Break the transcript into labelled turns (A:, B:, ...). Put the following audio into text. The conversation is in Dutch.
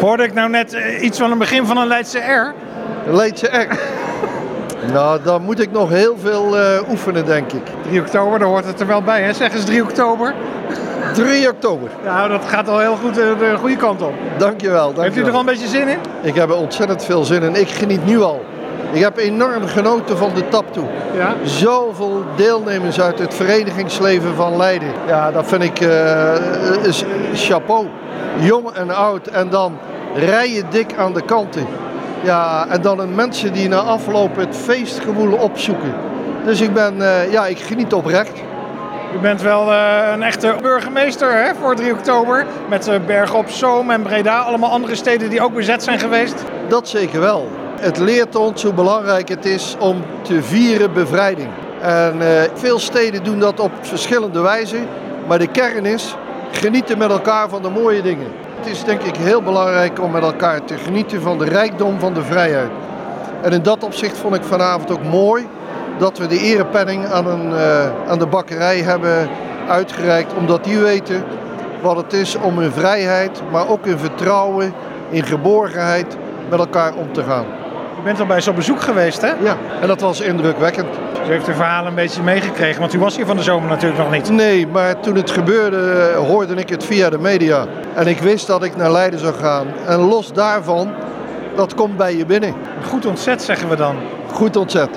A: Hoorde ik nou net eh, iets van een begin van een Leidse R?
B: Leedse echt. Nou, daar moet ik nog heel veel eh, oefenen, denk ik.
A: 3 oktober, daar hoort het er wel bij, hè? Zeg eens 3 oktober.
B: 3 oktober.
A: Nou, dat gaat al heel goed eh, de goede kant op.
B: Dankjewel. dankjewel.
A: Heeft u er al een beetje zin in?
B: Ik heb er ontzettend veel zin in. Ik geniet nu al. Ik heb enorm genoten van de tap toe.
A: Ja.
B: Zoveel deelnemers uit het verenigingsleven van Leiden. Ja, dat vind ik eh, is- chapeau. Jong en oud. En dan rijen dik aan de kanten. Ja, en dan de mensen die na afloop het feestgevoel opzoeken. Dus ik ben, eh, ja, ik geniet oprecht.
A: U bent wel eh, een echte burgemeester hè, voor 3 oktober. Met eh, Bergen op Zoom en Breda. Allemaal andere steden die ook bezet zijn geweest.
B: Dat zeker wel. Het leert ons hoe belangrijk het is om te vieren bevrijding. En eh, veel steden doen dat op verschillende wijzen. Maar de kern is genieten met elkaar van de mooie dingen. Het is denk ik heel belangrijk om met elkaar te genieten van de rijkdom van de vrijheid. En in dat opzicht vond ik vanavond ook mooi dat we de erepenning aan, een, eh, aan de bakkerij hebben uitgereikt. Omdat die weten wat het is om in vrijheid, maar ook in vertrouwen, in geborgenheid met elkaar om te gaan.
A: U bent al bij zo'n bezoek geweest, hè?
B: Ja, en dat was indrukwekkend.
A: U heeft uw verhaal een beetje meegekregen, want u was hier van de zomer natuurlijk nog niet.
B: Nee, maar toen het gebeurde eh, hoorde ik het via de media. En ik wist dat ik naar Leiden zou gaan. En los daarvan, dat komt bij je binnen.
A: Goed ontzet, zeggen we dan.
B: Goed ontzet.